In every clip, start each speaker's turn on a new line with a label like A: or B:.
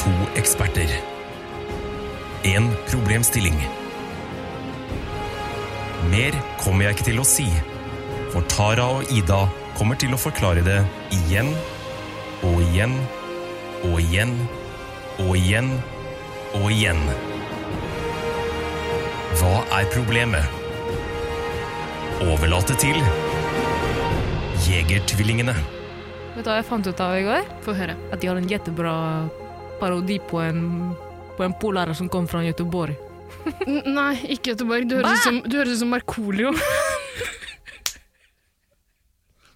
A: To eksperter. En problemstilling. Mer kommer jeg ikke til å si, for Tara og Ida kommer til å forklare det igjen og igjen og igjen og igjen og igjen. Hva er problemet? Overlate til Jegertvillingene.
B: Vet du hva jeg fant ut av i går?
C: Få høre.
B: At de har en jettebra parodi på en, på en polarer som kom fra Göteborg.
C: N nei, ikke Göteborg. Du høres ut som, du høres ut som Markolio.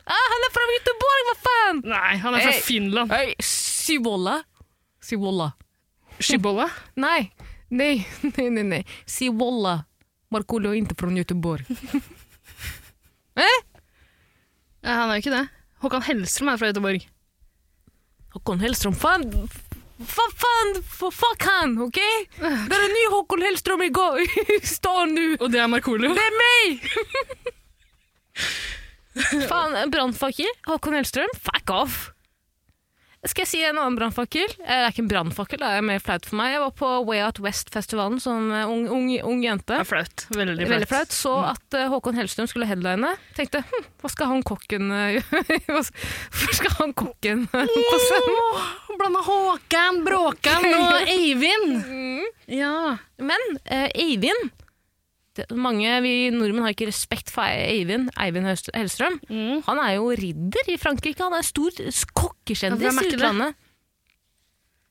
B: Ah, han er fra Göteborg, hva faen!
C: Nei, han er fra
B: Hey.
C: Finland.
B: Hey, Sivolla. Sivolla.
C: Skibolla?
B: Nei, nei, nej, nej, nej. Sivolla. Markoolio är inte från Göteborg.
C: Ja, han er jo ikke det. Håkan Hellstrøm er fra Göteborg.
B: Håkon Hellström, fan, fan, fan, f- fuck han, okej? Det är en ny Håkon Hellström i, gå- i stan nu.
C: Og det er Markolio.
B: Det är mig! fan, brandfackel. Håkon Hellström, fuck off. Skal jeg si en annen brannfakkel? Eh, Det er ikke en brannfakkel, det er mer flaut for meg. Jeg var på Way Out West-festivalen som eh, ung, ung, ung jente.
C: Det er flaut. Veldig
B: Det
C: flaut.
B: er Veldig flaut. Så at eh, Håkon Hellstrøm skulle headline, tenkte hm, hva skal han kokken eh, gjøre? Hva s- Hvorfor skal han kokken på scenen?
C: Blanda Håkan, Bråkan og Eivind.
B: Mm.
C: Ja.
B: Men eh, Eivind det, mange vi nordmenn har ikke respekt for Eivind, Eivind Høst- Hellstrøm.
C: Mm.
B: Han er jo ridder i Frankrike. Han er stor s-
C: Ja,
B: kokkekjendis
C: for
B: i
C: jeg merker det.
B: utlandet.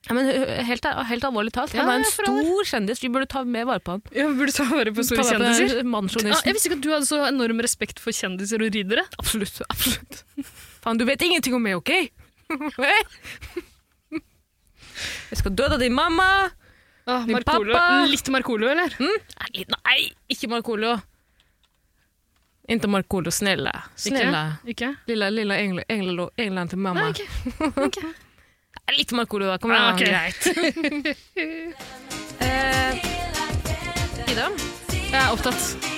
B: Ja, men hø- hø- helt, helt alvorlig talt, han
C: Ja,
B: er en
C: ja, for all del.
B: stor kjendis. Vi burde ta mer vare på han.
C: Jeg burde ta vare på store
B: Ta vare på
C: kjendiser. Ja,
B: mannsjournalisten.
C: jeg visste ikke at du hadde så enorm respekt for kjendiser og riddere.
B: Absolutt. absolutt. Faen, du vet ingenting om meg, OK? jeg skal døde av din mamma.
C: Ah,
B: Din
C: Markoolio.
B: pappa.
C: Litt Markoolio, eller?
B: Nei, nei ikke Markoolio. Ikke Markoolio, snille. Snille.
C: Ikke? ikke?
B: Lilla, lilla engle, engle, engelen til mamma.
C: Nei, ok. Ok.
B: Litt Markoolio, da. Kom igjen.
C: Ah, ok, Greit.
B: Eh, Ida?
C: Jeg er opptatt.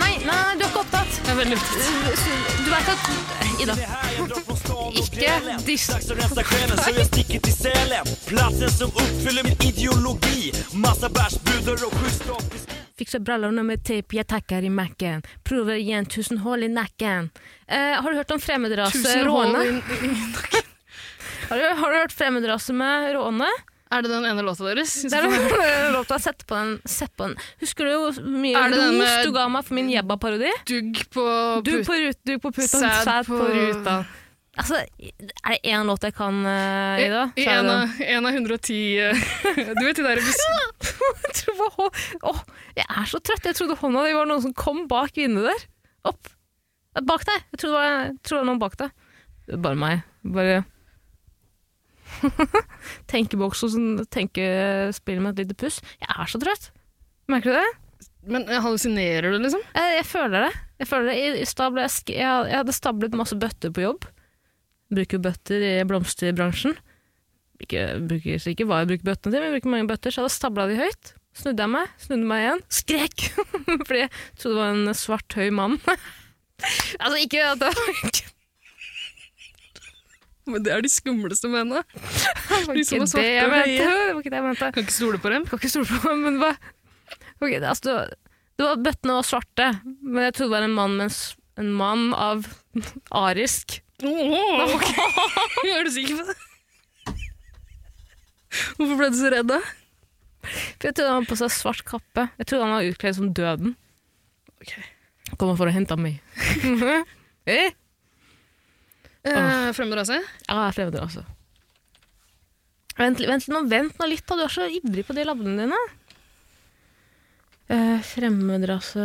B: Nei, nei, du er ikke opptatt.
C: Jeg er veldig opptatt.
B: Du vet at Ida. Ikke diss.
D: Dags att rensa själen så jag sticker till Sälen Platsen som uppfyller min ideologi Massa bärsbudar og schysst optisk
B: Fikser brallene med teip, jeg takker i macken. Prøver igjen, tusen hull i nakken. Eh, har du hørt om fremmedrase
C: Tusen
B: råne?
C: hål i- i-
B: Har du, har du hørt Fremmedrase med råne?
C: Er det den ene låta deres?
B: Det er jo lov til å sette på den. Sett på den. Husker du hvor mye
C: Er det den
B: ros
C: med-
B: du ga meg for min jebba-parodi?
C: Dugg på
B: Du
C: put-
B: på, rut, du på puta,
C: Sæd
B: sæd på
C: på-
B: ruta. Altså, er det én låt jeg kan, uh,
C: I,
B: Ida?
C: i
B: så er det
C: en,
B: den.
C: av, en av 110 eh, Du vet de der episoden
B: Jeg tror det var hå- Åh, jeg er så trøtt. Jeg trodde hånda di var noen som kom bak vinduet der. Opp. Bak deg. Jeg tror det var, jeg tror det var noen bak deg. Det er Bare meg. Bare Tenkeboks og sånn tenkespill med et lite puss. Jeg er så trøtt. Merker du det?
C: Men eh, hallusinerer du, liksom?
B: Eh, Jeg, jeg føler det. Jeg, føler det. I, i stad ble jeg, sk jeg, jeg hadde stablet masse bøtter på jobb. Bruker jo bøtter i blomsterbransjen. Ikke, bruker, så ikke hva jeg bruker bøttene til, men jeg bruker mange bøtter. Så jeg hadde stabla de høyt. Snudde jeg meg, snudde meg igjen, skrek! Fordi jeg trodde det var en svart, høy mann. altså, ikke at det
C: Men Det er de skumleste mennene.
B: det var
C: som
B: ikke
C: var
B: det
C: svarte
B: jeg
C: og høye.
B: mente. Det var ikke det jeg mente.
C: Kan ikke stole på dem.
B: kan ikke stole på meg, men hva? Ok, det, altså, det var, det var bøttene var svarte, men jeg trodde det var en mann, mens en mann av arisk.
C: Åh, er du sikker på det? Hvorfor ble du så redd, da?
B: For jeg trodde han hadde på seg svart kappe. Jeg trodde han var utkledd som døden.
C: Ok.
B: Kommer for å hente meg. eh?
C: Eh, Fremmedrase?
B: Ja, jeg fremmer det altså. Vent, vent, nå, vent nå litt, da. Du er så ivrig på de labbene dine. Eh, fremmedrase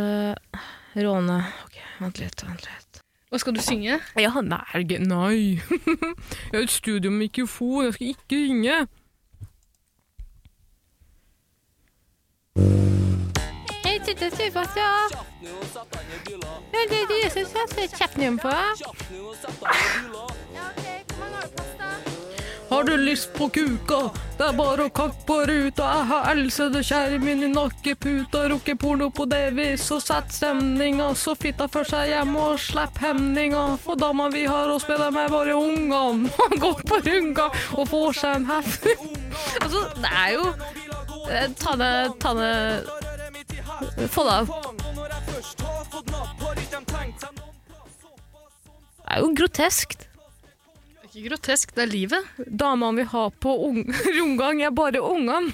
B: råne Ok, vent litt, vent litt.
C: Og skal du synge?
B: Ja, nei, g- nei. Jeg har et studio med mikrofon, jeg skal ikke ringe. Har du lyst på kuka? Det er bare å kakke på ruta. Jeg har elsede skjermen i nakkeputa. Rukker porno på Davis og sett stemninga. Så fitta for seg hjemme og slipp hemninga. For dama vi har å spille med, bare ungan. Han går på runga og får seg en heft. Altså, det er jo eh, Ta ned, ta ned Få det av. Det er jo groteskt.
C: Det er ikke grotesk, det er livet.
B: Damene vi har på ung romgang, er bare ungene.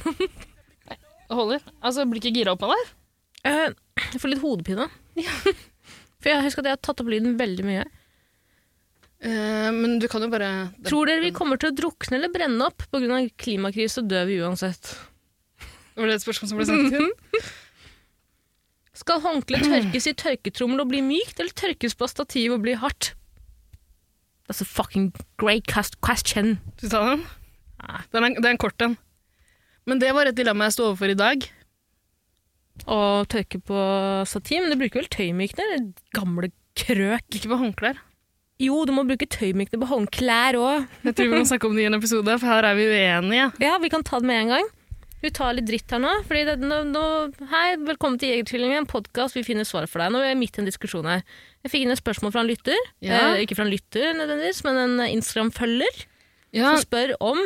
C: Det holder. Altså, blir ikke gira opp av det? her.
B: Eh, Jeg får litt hodepine. For jeg husker at jeg har tatt opp lyden veldig mye.
C: Eh, men du kan jo bare
B: Tror dere vi kommer til å drukne eller brenne opp? Pga. klimakrise så dør vi uansett.
C: Var det et spørsmål som ble sendt til?
B: Skal håndkleet tørkes i tørketrommel og bli mykt, eller tørkes på stativ og bli hardt? That's a fucking great cast- question.
C: Skal vi ta den? Den er, det er en kort en. Men det var et dilemma jeg sto overfor i dag.
B: Å tørke på stativ, men du bruker vel tøymykner? din, Gamle krøk.
C: Ikke på håndklær.
B: Jo, du må bruke tøymykner på håndklær òg.
C: Jeg tror vi må snakke om det i en episode, for her er vi uenige.
B: Ja, vi kan ta det med en gang. Vi tar litt dritt her nå. Fordi det, nå, nå, hei, velkommen til Jegertvillingen, en podkast. Vi finner svar for deg. Nå er jeg midt i en diskusjon her. Jeg fikk inn et spørsmål fra en lytter.
C: Ja.
B: Eh, ikke fra en lytter, nødvendigvis, men en eh, Instagram-følger.
C: Ja,
B: Som spør om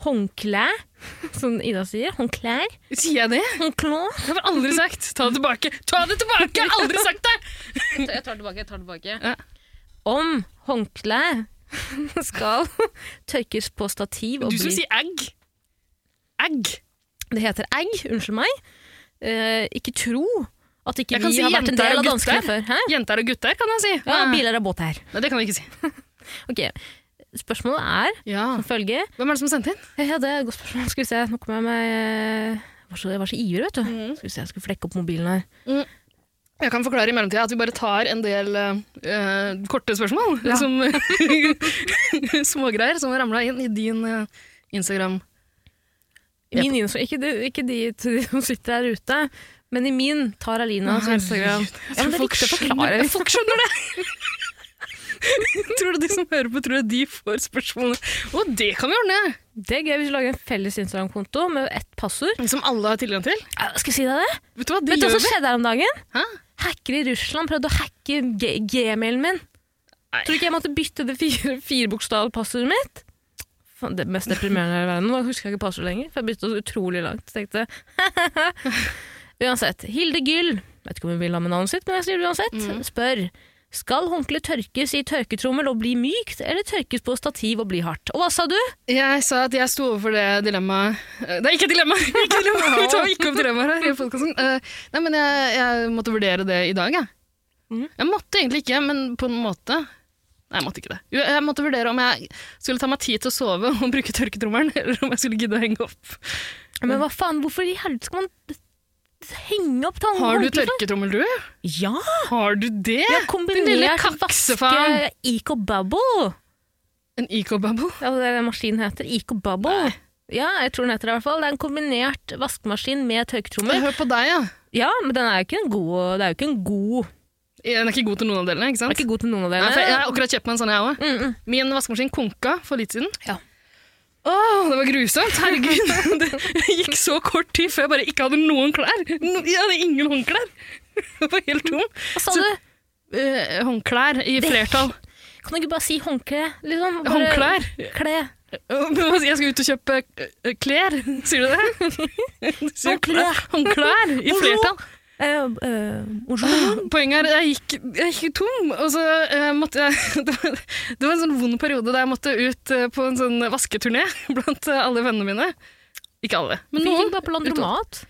B: håndklær, som Ida sier. Håndklær.
C: Sier jeg det?
B: Håndklær.
C: Det har jeg aldri sagt. Ta det tilbake! Ta det tilbake! Jeg har aldri sagt det!
B: Jeg tar det tilbake. jeg tar det tilbake.
C: Ja.
B: Om håndklær skal tørkes på stativ og
C: Du
B: bli
C: som sier egg. Egg.
B: Det heter egg, unnskyld meg. Eh, ikke tro at ikke
C: Jeg kan
B: vi
C: si
B: har vært en
C: jenter
B: del av
C: og
B: danskene
C: gutter.
B: før. Hæ?
C: Jenter og gutter, kan jeg si.
B: Ja, biler og båt her.
C: Nei, det kan jeg ikke si.
B: Ok, Spørsmålet er
C: Ja.
B: som følger
C: Hvem er det som sendte inn?
B: Ja, det er et godt spørsmål. Skal vi se, nå kom jeg meg eh, jeg var så- Jeg var så ivrig, vet du. Skal vi se, Jeg skal flekke opp mobilen her.
C: Jeg kan forklare i mellomtida at vi bare tar en del eh, korte spørsmål. Som, smågreier som har ramla inn i din eh, Instagram.
B: I min innså, ikke, de, ikke de til de som sitter der ute, men i min tar Alina sin Instagram. Ja, men det er viktig å forklare.
C: Folk skjønner det! tror du de som hører på, tror du de får spørsmålet? Å, det kan vi ordne!
B: Det er gøy hvis vi lager en felles Instagram-konto med ett passord.
C: Som alle har tilgang til.
B: Ja, Skal jeg si deg det?
C: Vet du hva, det
B: Vet du hva
C: gjør
B: som
C: vi.
B: skjedde her om dagen?
C: Hæ?
B: Hackere i Russland prøvde å hacke g- gmailen min.
C: Nei.
B: Tror du ikke jeg måtte bytte det fire, firebokstavpassordet mitt? Faen, Det mest deprimerende i verden. Nå husker jeg ikke passordet lenger, for jeg bytta så utrolig langt. Så tenkte jeg. Uansett. Hilde Gyll, vet ikke om hun vil ha med navnet sitt, men jeg sier det uansett,
C: Mhm.
B: spør skal håndkleet tørkes i tørketrommel og bli mykt, eller tørkes på stativ og bli hardt? Og hva sa du?
C: Jeg sa at jeg sto overfor det dilemmaet Eh, Det er ikke et dilemma! Ikke et dilemma. Vi tar ikke opp dilemmaer her i podkasten. Nei, men jeg, jeg måtte vurdere det i dag, jeg.
B: Mhm.
C: Jeg måtte egentlig ikke, men på en måte Nei, jeg måtte ikke det. Jo, Jeg måtte vurdere om jeg skulle ta meg tid til å sove og bruke tørketrommelen, eller om jeg skulle gidde å henge opp.
B: Men hva faen, hvorfor i helvete skal man d- d- henge opp tann-
C: Har du
B: håndkleet?
C: tørketrommel, du?
B: sånn? Ja!
C: Har du det?
B: Jeg har
C: Din lille
B: kombinert
C: kaksefaen.
B: vaske Eco Bubble.
C: En eco-bubble?
B: Ja, det er det maskinen heter. Eco Bubble. Ja, jeg tror den heter det i hvert fall. Det er en kombinert vaskemaskin med tørketrommel.
C: Hør på deg, ja.
B: Ja, men den er jo ikke en god Det er jo ikke en god
C: Den er ikke god til noen av delene, ikke
B: Den er
C: sant?
B: ikke god til noen av
C: Nei, for jeg
B: delene.
C: har akkurat kjøpt meg en sånn, jeg òg.
B: Mm, mm.
C: Min vaskemaskin konka for litt siden.
B: Ja.
C: Åh, det var grusomt! Herregud! Det gikk så kort tid før jeg bare ikke hadde noen klær. No, jeg hadde ingen håndklær! Jeg var helt tom.
B: Hva sa
C: Så-
B: du?
C: Eh, håndklær i
B: Det-
C: flertall.
B: Kan du ikke bare si håndkle? Liksom? Bare
C: Håndklær!
B: Kle.
C: Jeg skal ut og kjøpe eh, klær, sier du det? Du sier
B: Håndklær.
C: Håndklær i
B: Bonjour.
C: flertall.
B: Eh, eh, Bonjour.
C: Poenget er, jeg gikk, jeg gikk tom, og så eh, måtte jeg det var, det var en sånn vond periode der jeg måtte ut eh, på en sånn vasketurné blant eh, alle vennene mine. Ikke alle, men
B: Vi
C: noen.
B: gikk bare på Landromat.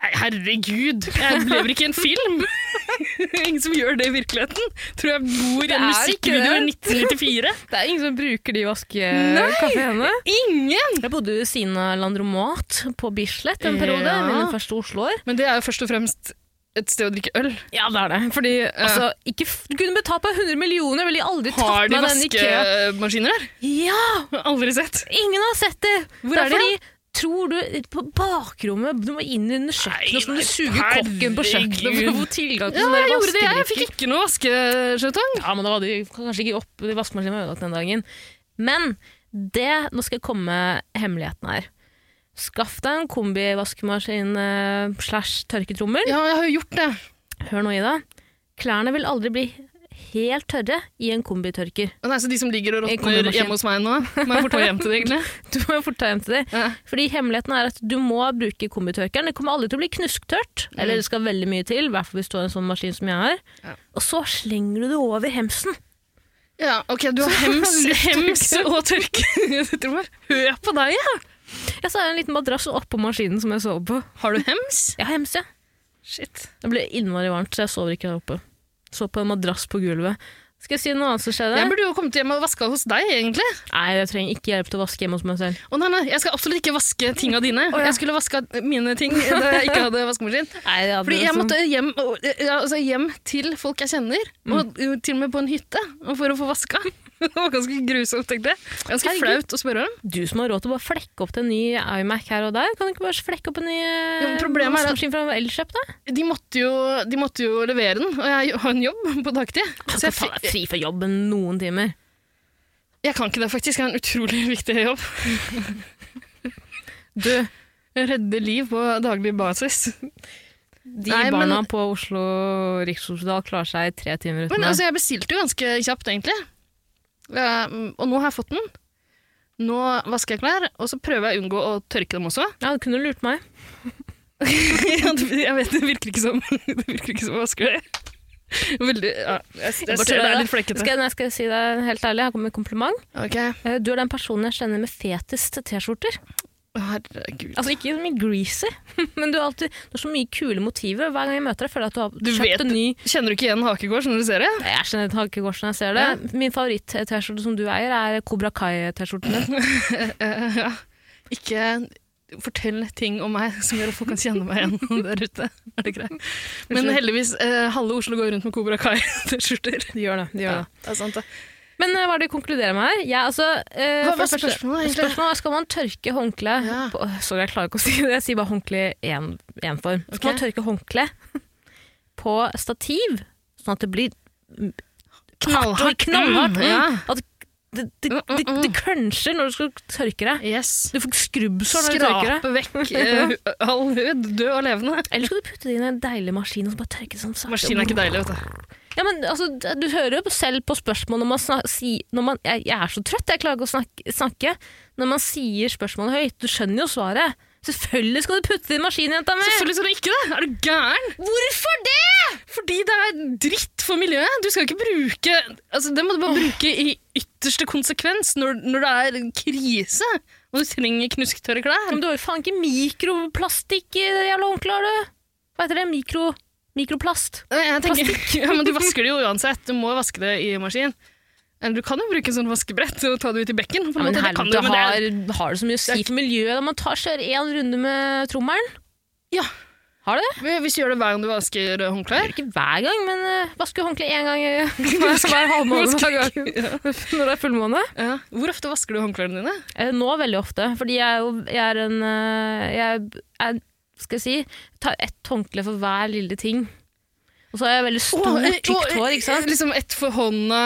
C: Nei, herregud, jeg lever ikke i en film! Ingen som gjør det i virkeligheten. Tror jeg bor i
B: Det
C: en
B: er ikke
C: musikkvideo i 1994.
B: Det er ingen som bruker de
C: Nei.
B: vaskekaffeene.
C: Ingen!
B: Jeg bodde ved siden av Landromat på Bislett en periode.
C: Ja.
B: Mine første Oslo-år.
C: Men det er jo først og fremst et sted å drikke øl.
B: Ja, det er det. Fordi, altså, ikke f du kunne betalt meg 100 millioner, ville jeg aldri
C: Har
B: tatt
C: de
B: meg den IKEA.
C: vaskemaskiner der?
B: Ja!
C: Aldri sett.
B: Ingen har sett det!
C: Hvor
B: det
C: er de,
B: fordi, Tror du På bakrommet, du må inn under kjøkkenet, og så må du suge
C: nei,
B: kokken på kjøkkenet for å få tilgang til
C: Ja,
B: sånne
C: jeg gjorde det, jeg. Jeg
B: vaskedrikker.
C: fikk Sånn ikke noe vaskeskjøtong.
B: Ja, men da var det jo kanskje ikke opp i vaskemaskinen var ødelagt den dagen. Men det, nå skal jeg komme med hemmeligheten her. Skaff deg en kombivaskemaskin eh, slash tørketrommel.
C: Ja, jeg har jo gjort det.
B: Hør nå, Ida. Klærne vil aldri bli helt tørre i en kombitørker.
C: Å Nei, så de som ligger og
B: Jeg
C: råtner
B: kommer
C: hjemme hos meg nå, må jeg fort ta hjem til det, egentlig?
B: Du må jo fort ta hjem til det.
C: Ja.
B: Fordi hemmeligheten er at du må bruke kombitørkeren. Det kommer aldri til å bli knusktørt, eller det skal veldig mye til, i hvert fall hvis du har en sånn maskin som jeg har.
C: Ja.
B: Og så slenger du det over hemsen.
C: ja, ok, du har hems, hems og tørke. Jeg tror bare, Hør på deg, ja!
B: Jeg sa en liten madrass oppå maskinen som jeg sov på.
C: Har du hems?
B: Jeg har hems, ja.
C: Shit.
B: Det ble innmari varmt, så jeg sover ikke der oppe. Sov på en madrass på gulvet. Skal jeg si noe annet som skjedde?
C: Jeg burde jo kommet hjem og vaska hos deg, egentlig.
B: Nei, jeg trenger ikke hjelp til å vaske hjemme hos meg selv.
C: Å nei, nei, jeg skal absolutt ikke vaske tinga dine.
B: Å, ja.
C: Jeg skulle vaska mine ting da jeg ikke hadde vaskemaskin.
B: Nei, det hadde
C: Fordi jeg
B: liksom-
C: måtte hjem, og- ja, altså hjem til folk jeg kjenner,
B: Mm.
C: og til og med på en hytte, og for å få vaska. Det var ganske grusomt, tenkte jeg. Ganske
B: Herregud.
C: flaut å spørre om.
B: Du som har råd til å bare flekke opp til en ny iMac her og der, kan du ikke bare flekke opp en ny eh,
C: Ja, men problemet er at-
B: vaskemaskin fra Elkjøp, da?
C: De måtte, jo, de måtte jo levere den, og jeg har en jobb på
B: Du
C: dagtid. Så
B: skal
C: jeg,
B: Altså, ta
C: fi-
B: deg fri fra jobben noen timer.
C: jeg kan ikke det, faktisk. Jeg har en utrolig viktig jobb.
B: Du,
C: Redde liv på daglig basis.
B: de
C: Nei, men-
B: barna på Oslo Rikshospital klarer seg tre timer uten
C: Men
B: deg.
C: altså, jeg bestilte jo ganske kjapt, egentlig. Eh, og nå har jeg fått den. Nå vasker jeg klær, og så prøver jeg å unngå å tørke dem også.
B: Ja, du kunne lurt meg.
C: Ja, det- jeg vet, det virker ikke som Det virker ikke som å vaske det. Veldig, ja, jeg, jeg,
B: Bare
C: ser det
B: tør
C: er
B: det.
C: litt flekkete.
B: Skal jeg, nei, skal jeg si deg helt ærlig, her kommer et kompliment.
C: Ok,
B: Eh, Du er den personen jeg kjenner med fetest T-skjorter.
C: herregud.
B: Altså ikke så mye greasy, men du har, alltid, du har så mye kule motiver. Hver gang jeg møter deg, føler jeg at du har
C: Du
B: kjøpt
C: vet-
B: en ny
C: Kjenner du ikke igjen Hakegård, som du ser det?
B: Jeg kjenner et hakekors når jeg ser det. Min favoritt-T-skjorte som du eier, er Cobra Kai-T-skjorten din.
C: Eh, ja. Ikke fortell ting om meg som gjør at folk kan kjenne meg igjen der ute. Er det greit? Men heldigvis, eh, halve Oslo går rundt med Cobra Kai-T-skjorter.
B: De gjør det. de gjør
C: Ja,
B: det.
C: det er sant, det.
B: Men eh, hva er det vi konkluderer med her? Jeg, altså, eh,
C: Hva
B: for det
C: var
B: første-
C: spørsmålet, egentlig?
B: Spørsmålet er, skal man tørke håndkle
C: Ja.
B: på, Åh, Sorry, jeg klarer ikke å si det. Jeg sier bare håndkle i én én form. Skal
C: Ok.
B: man tørke håndkle på stativ, sånn at det blir hardt og knallhardt?
C: Mm,
B: mm,
C: Ja.
B: At det, det,
C: Mm, mm,
B: det,
C: mm.
B: det cruncher når du skal tørke deg.
C: Yes.
B: Du får skrubbsår når du tørker deg.
C: Skrape vekk eh, all hud, død og levende.
B: Eller skal du putte det inn i en deilig maskin og så bare tørke det sånn sakte?
C: Maskinen er ikke deilig, vet du.
B: Ja, men altså, Du hører jo selv på spørsmål når man snak, si, når man, jeg, jeg er så trøtt, jeg klarer ikke å snakke, snakke. Når man sier spørsmålet høyt, du skjønner jo svaret. Selvfølgelig skal du putte det i maskinen, jenta mi!
C: Selvfølgelig skal du ikke det! Er du gæren?
B: Hvorfor det?!
C: Fordi det er dritt for miljøet. Du skal ikke bruke altså, Det må du bare bruke i ytterste konsekvens når, når det er krise og du trenger knusktørre klær.
B: Men du har jo faen ikke mikroplastikk i det jævla håndkleet, har du! Hva heter det? Mikro, mikroplast?
C: Nei, Jeg tenker, ja, men du vasker det jo uansett. Du må vaske det i maskin. Eller du kan jo bruke sånn vaskebrett og ta det ut i bekken. På
B: Ja,
C: en
B: men
C: måte. Det kan
B: helvete,
C: du, men det er-
B: har, har det så mye å si for miljøet når man tar, kjører én runde med trommelen?
C: Ja.
B: Har det det?
C: Hvis du gjør det hver gang du vasker håndklær
B: Ikke hver gang, men uh, vasker håndkleet én gang eh, hver, hver halvmåned.
C: Vasker-
B: hver gang.
C: ja.
B: Når det er fullmåne.
C: Ja. Hvor ofte vasker du håndklærne dine?
B: Eh, Nå veldig ofte, fordi jeg er, jo, jeg er en eh, Jeg er, skal jeg si, tar ett håndkle for hver lille ting. Og så har jeg veldig stort,
C: Åh, eh,
B: tykt
C: åh,
B: hår, ikke
C: eh,
B: sant?
C: Liksom ett for hånda,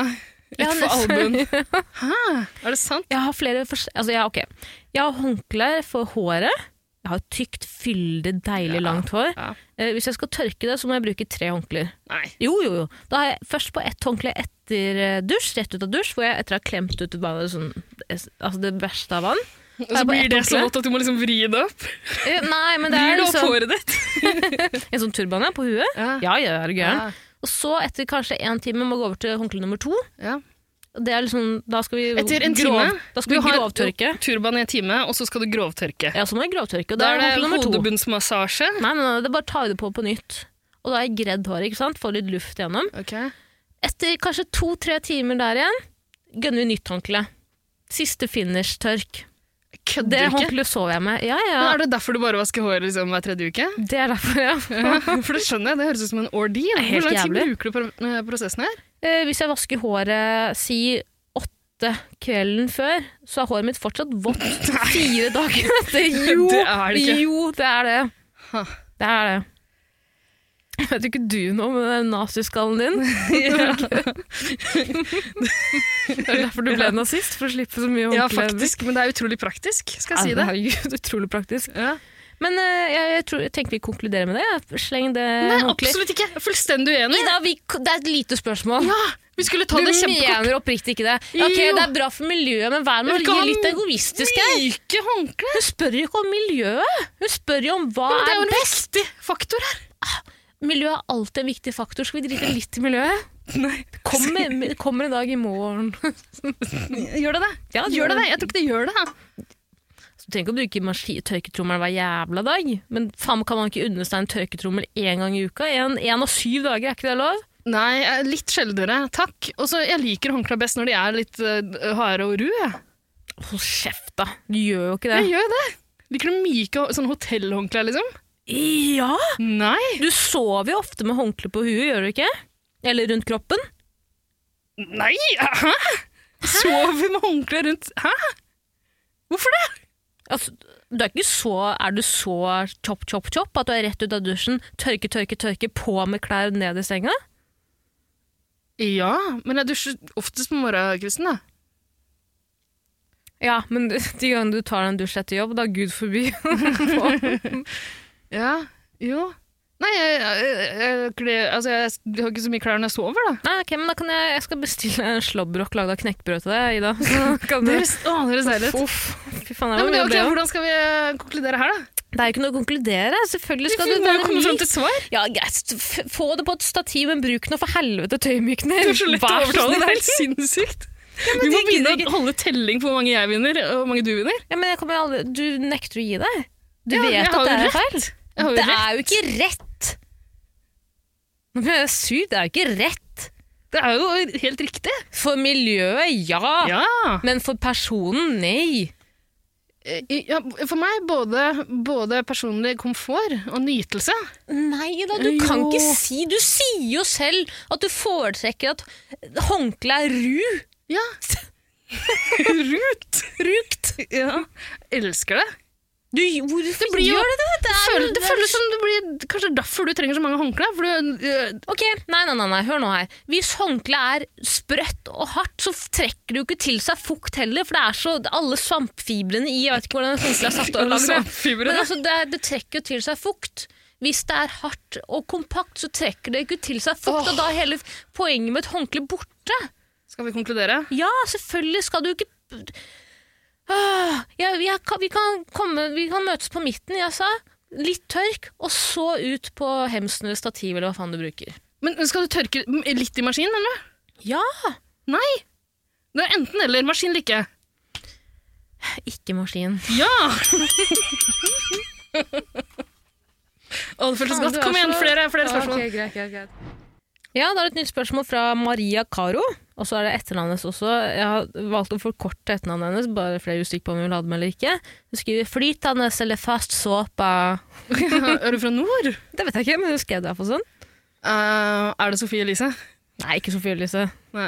C: ett
B: Ja,
C: for
B: nesten.
C: albuen. Hæ? Er det sant?
B: Jeg har flere fors- altså, jeg, ok. jeg har håndkle for håret. Jeg har tykt, fyldig, deilig langt hår.
C: ja.
B: Eh, hvis jeg skal tørke det, så må jeg bruke tre håndklær.
C: Nei.
B: Jo, jo, jo. Da har jeg først på ett håndkle etter eh, dusj, rett ut av dusj, hvor jeg etter å ha klemt ut bare sånn, altså det verste av vann.
C: Og
B: Er
C: så
B: det bare
C: blir
B: ett
C: det så
B: håndkle?
C: vått at du må liksom vri det opp.
B: Eh, nei, men det
C: Vrir
B: er
C: det opp
B: liksom
C: håret ditt.
B: en sånn turban ja, på huet.
C: Ja.
B: Ja, ja, er du gæren?
C: Ja.
B: Og så, etter kanskje én time, må gå over til håndkle nummer to.
C: Ja.
B: Og Det er liksom, da skal vi
C: Etter en
B: grov,
C: time,
B: Da skal vi
C: har
B: grovtørke.
C: turban i en time, og så skal du grovtørke.
B: Ja, så må vi grovtørke. Og da,
C: Da er det
B: håndkle nummer to.
C: hodebunnsmassasje.
B: Nei, nei, nei, det bare tar vi det på på nytt. Og da har jeg gredd håret, ikke sant? Får litt luft igjennom. Etter kanskje to-tre timer der igjen, gønner vi nytt håndkle. Siste finish-tørk. Det
C: Kødder du ikke?
B: håndkleet sover jeg med. Ja, ja.
C: Men er det derfor du bare vasker håret liksom, hver tredje uke?
B: Det er derfor, ja.
C: For det skjønner jeg, det høres ut som en ordeal.
B: er helt
C: Hvor lang tid
B: jævlig.
C: bruker du på eh, prosessen her?
B: Eh, hvis jeg vasker håret, si åtte kvelden før, så er håret mitt fortsatt vått fire dager etter. Jo,
C: Det er det ikke.
B: Jo, det er det.
C: Ha.
B: Det er det. Jeg vet jo ikke du noe om den naziskallen din. Det er derfor du ble nazist, for å slippe så mye
C: Ja,
B: håndklær.
C: faktisk, men det er utrolig praktisk, skal jeg si det.
B: Herregud, utrolig praktisk.
C: Ja.
B: Men eh, jeg, jeg, tror, jeg tenker vi konkluderer med det. Sleng det
C: Nei,
B: ordentlig.
C: absolutt ikke. Jeg er Fullstendig uenig.
B: Ida, vi, det er et lite spørsmål.
C: Ja, vi skulle ta
B: Du
C: det kjempekort.
B: mener oppriktig ikke det? Ja, ok,
C: Jo.
B: Det er bra for miljøet, men vær med
C: Jeg vil
B: å
C: ikke ha
B: bli litt
C: en-
B: egoistisk her.
C: Myke håndkle.
B: Hun spør jo ikke om miljøet. Hun spør jo om hva
C: Men det er jo
B: er
C: en
B: best.
C: viktig faktor her.
B: Miljøet er alltid en viktig faktor. Skal vi drite litt i miljøet?
C: Nei.
B: Kommer, kommer en dag i morgen.
C: Gjør det det?
B: Ja, det gjør
C: gjør
B: det.
C: det det? Jeg tror ikke det gjør det.
B: Så du trenger ikke å bruke maski- tørketrommelen hver jævla dag, men faen kan man ikke unne seg en tørketrommel én gang i uka? En, en av syv dager, er ikke det lov?
C: Nei, jeg er litt sjeldnere. Takk. Og så jeg liker håndklær best når de er litt uh, harde og ru. Jeg,
B: Hold kjeft, da. Du gjør jo ikke det.
C: jeg gjør jo det. Liker du myke sånn hotellhåndklær, liksom?
B: Ja!
C: Nei.
B: Du sover jo ofte med håndkle på huet, gjør du ikke? Eller rundt kroppen.
C: Nei! Hæ? Sover med håndkle rundt Hæ? Hvorfor det?
B: Altså, du er, ikke så, er du så chop, chop, chop at du er rett ut av dusjen, tørke, tørke, tørke, på med klær ned i senga?
C: Ja, men jeg dusjer oftest på morgenkvisten, da.
B: Ja, men de gangene du tar en dusj etter jobb, da gud forby.
C: Ja, jo. Nei, jeg, jeg, jeg, kler- altså, jeg har ikke så mye klær når jeg sover, da.
B: Nei, ok, men da kan jeg, jeg skal bestille en slåbrok lagd av knekkbrød til deg, Ida. Så kan du...
C: Dere, å, dere ser litt.
B: Uff, fy faen, det
C: Nei,
B: var
C: men,
B: mye å
C: ok,
B: be om.
C: hvordan skal vi eh, konkludere her, da?
B: Det er jo ikke noe å konkludere. Selvfølgelig skal
C: Vi
B: du
C: må
B: være
C: jo komme fram
B: myk.
C: til et svar.
B: Ja, greit. F- Få det på et stativ, men bruk nå for helvete tøymykner.
C: Det er så lett å
B: Vær så
C: overtale. Det er
B: snill.
C: helt sinnssykt. Vi må
B: de
C: begynne
B: gidder
C: å holde telling på hvor mange jeg vinner, og hvor mange du vinner.
B: Ja, men jeg kommer aldri... Du nekter å gi deg. Du
C: Ja, jeg
B: vet
C: har
B: at det
C: jo
B: er feil.
C: Jeg har jo
B: Det
C: rett.
B: er jo ikke rett. Nå ble jeg sur. Det er jo ikke rett.
C: Det er jo helt riktig.
B: For miljøet, ja.
C: Ja.
B: Men for personen, nei.
C: Eh, I- ja for meg både, både personlig komfort og nytelse.
B: Nei da, du kan
C: Jo.
B: ikke si Du sier jo selv at du foretrekker at håndkleet er ru.
C: Ja. Rut.
B: Brukt.
C: Ja. Elsker det.
B: Du, hvorfor
C: blir jo-
B: gjør det det? Det, er,
C: Føl, det føles som det blir Kanskje derfor du trenger så mange håndklær. For du, eh,
B: Ok, nei, nei, nei, nei, hør nå her. Hvis håndkleet er sprøtt og hardt, så trekker det jo ikke til seg fukt heller, for det er så alle svampfibrene i Jeg vet ikke hvordan håndkleet er satt og
C: Alle
B: laget. Men
C: svampfibrene.
B: altså, det, er- det trekker jo til seg fukt. Hvis det er hardt og kompakt, så trekker det ikke til seg fukt,
C: Åh.
B: og da er hele poenget med et håndkle borte.
C: Skal vi konkludere?
B: Ja, selvfølgelig skal du ikke Åh, jeg, jeg, kan- vi, kan komme, vi kan møtes på midten, jeg sa. Litt tørk, og så ut på hemsen eller stativ eller hva faen du bruker.
C: Men skal du tørke litt i maskinen, mener du?
B: Ja,
C: Nei! Det er enten eller. Maskin eller ikke.
B: ikke maskin.
C: Ja! Å, det føltes
B: Faen,
C: godt.
B: du er
C: Kom igjen,
B: så-
C: flere, flere spørsmål.
B: Ja, da er det et nytt spørsmål fra Maria Caro. Og så er det etternavnet hennes også. Jeg har valgt å forkorte etternavnet hennes, bare flere usikker på om hun vil ha det med eller ikke. Hun skriver 'flytende eller fast såpe'.
C: er du fra nord?
B: Det vet jeg ikke, men hun skrev det iallfall sånn.
C: Eh, er det Sofie Elise?
B: Nei, ikke Sofie Elise.
C: Nei.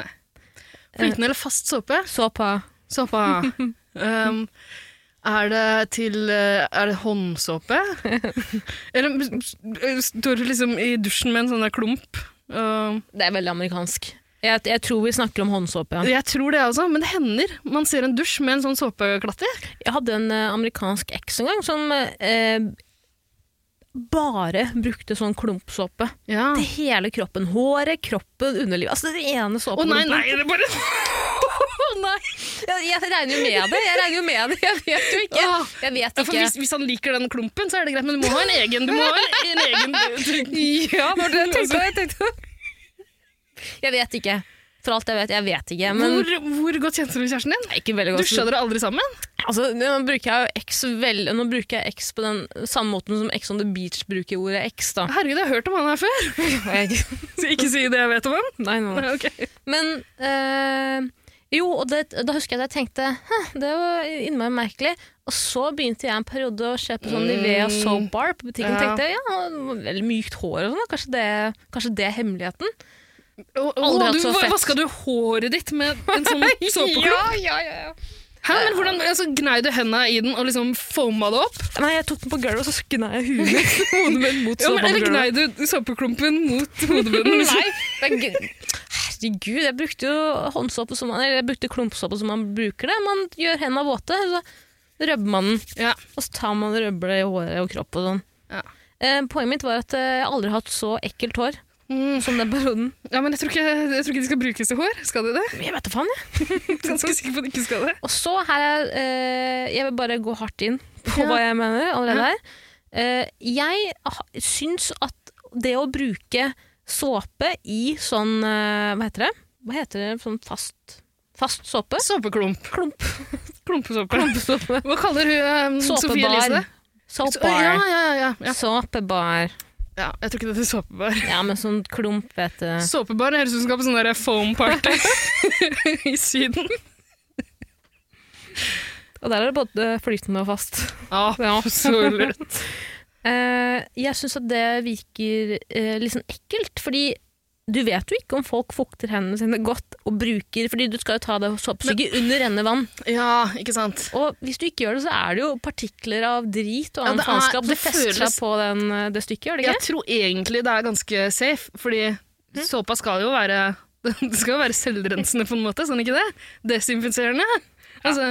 C: Flytende eller fast såpe?
B: Såpa.
C: Såpa. Um, er det til eh, Er det håndsåpe? Eller eh, står du liksom i dusjen med en sånn der klump? Um,
B: Det er veldig amerikansk. Jeg, jeg tror vi snakker om håndsåpe, ja.
C: jeg tror det, altså, men det hender. Man ser en dusj med en sånn såpeklatt i.
B: Jeg hadde en eh, amerikansk eks en gang som eh, bare brukte sånn klumpsåpe.
C: Ja.
B: Til hele kroppen. Håret, kroppen, underlivet. Altså det ene
C: Å
B: såpen.
C: nei,
B: du
C: nei,
B: bruker.
C: det er bare
B: Jeg, jeg regner jo med det, jeg regner jo med det. Jeg vet jo ikke.
C: Åh.
B: Jeg vet
C: Ja, for
B: ikke.
C: hvis, hvis han liker den klumpen, så er det greit, men du må ha en egen. Du må ha en, en egen
B: Ja, det var det jeg tenkte. Jeg, tenkte. jeg vet ikke. For alt jeg vet, jeg vet ikke. Men
C: hvor, hvor godt kjente du kjæresten din?
B: ikke veldig godt.
C: Dusja dere aldri sammen?
B: Altså, nå bruker jeg jo X vel, nå bruker jeg X på den samme måten som X on the beach bruker ordet X, da.
C: Herregud, jeg har hørt om han her før.
B: nei,
C: Så ikke si det jeg vet om han.
B: nei, nei.
C: Nei, ok.
B: Men eh, jo, og det, da husker jeg at jeg tenkte «Hæ, det var innmari merkelig. Og så begynte jeg en periode å kjøpe sånn Nivea soap bar på butikken.
C: Ja.
B: tenkte jeg, ja, det var Veldig mykt hår og sånn. da. Kanskje, det- kanskje det er hemmeligheten?
C: Og, og,
B: Aldri hatt
C: du,
B: så
C: hva-
B: fett.
C: Vaska du håret ditt med en sånn såpeklubb?
B: ja, ja, ja.
C: Hæ, men hvordan altså, Gnei du henda i den og liksom foama det opp?
B: Nei, jeg tok den på gulvet, og så skna jeg huet mitt- hodet mitt mot
C: Ja, men, eller
B: såpehodet.
C: gnei du såpeklumpen mot hodebunnen? Liksom?
B: Nei, det er gøy. Herregud, jeg brukte jo håndsåpe som man, eller jeg brukte klumpsåpe som man bruker det. Man gjør hendene våte. Så Rødbemannen.
C: Ja.
B: Og så tar man rødble i håret og kropp og sånn.
C: Ja.
B: Eh, poenget mitt var at eh, jeg aldri har hatt så ekkelt hår
C: Mm.
B: som den perioden.
C: ja, men jeg tror, ikke, jeg tror ikke de skal brukes til hår. Skal de det?
B: Jeg vet da faen, jeg.
C: Jeg er Ganske sikker på at de ikke skal det.
B: Og så her er eh, Jeg vil bare gå hardt inn på
C: Ja.
B: hva jeg mener allerede
C: Ja.
B: her. Eh, jeg ha- syns at det å bruke såpe i sånn eh, Hva heter det? Hva heter det? Sånn fast, fast såpe?
C: Såpeklump.
B: Klump.
C: Klumpesåpe.
B: Klumpesåpe.
C: Hva kaller hun um, Sofie
B: Såpebar.
C: Elise det?
B: Såpebar.
C: Ja, ja, ja, ja.
B: Såpebar.
C: ja. Jeg tror ikke det heter såpebar.
B: Ja, men sånn klump, vet du.
C: Såpebar høres ut som skal på sånn der foam party i Syden.
B: Og der er det både flytende og fast.
C: Ja,
B: Ja.
C: absolutt.
B: Eh, jeg syns at det virker eh, litt sånn ekkelt, fordi du vet jo ikke om folk fukter hendene sine godt og bruker Fordi du skal jo ta det såpesuget under rennende vann.
C: Ja, ikke sant.
B: Og hvis du ikke gjør det, så er det jo partikler av drit og
C: Ja,
B: annen
C: det er-
B: faenskap
C: det
B: som fester
C: føles-
B: seg på den, eh, det stykket, gjør det
C: Jeg
B: ikke?
C: tror egentlig det er ganske safe, fordi såpa skal jo være det skal jo være selvrensende, på en måte, sånn ikke det? Desinfiserende. Altså,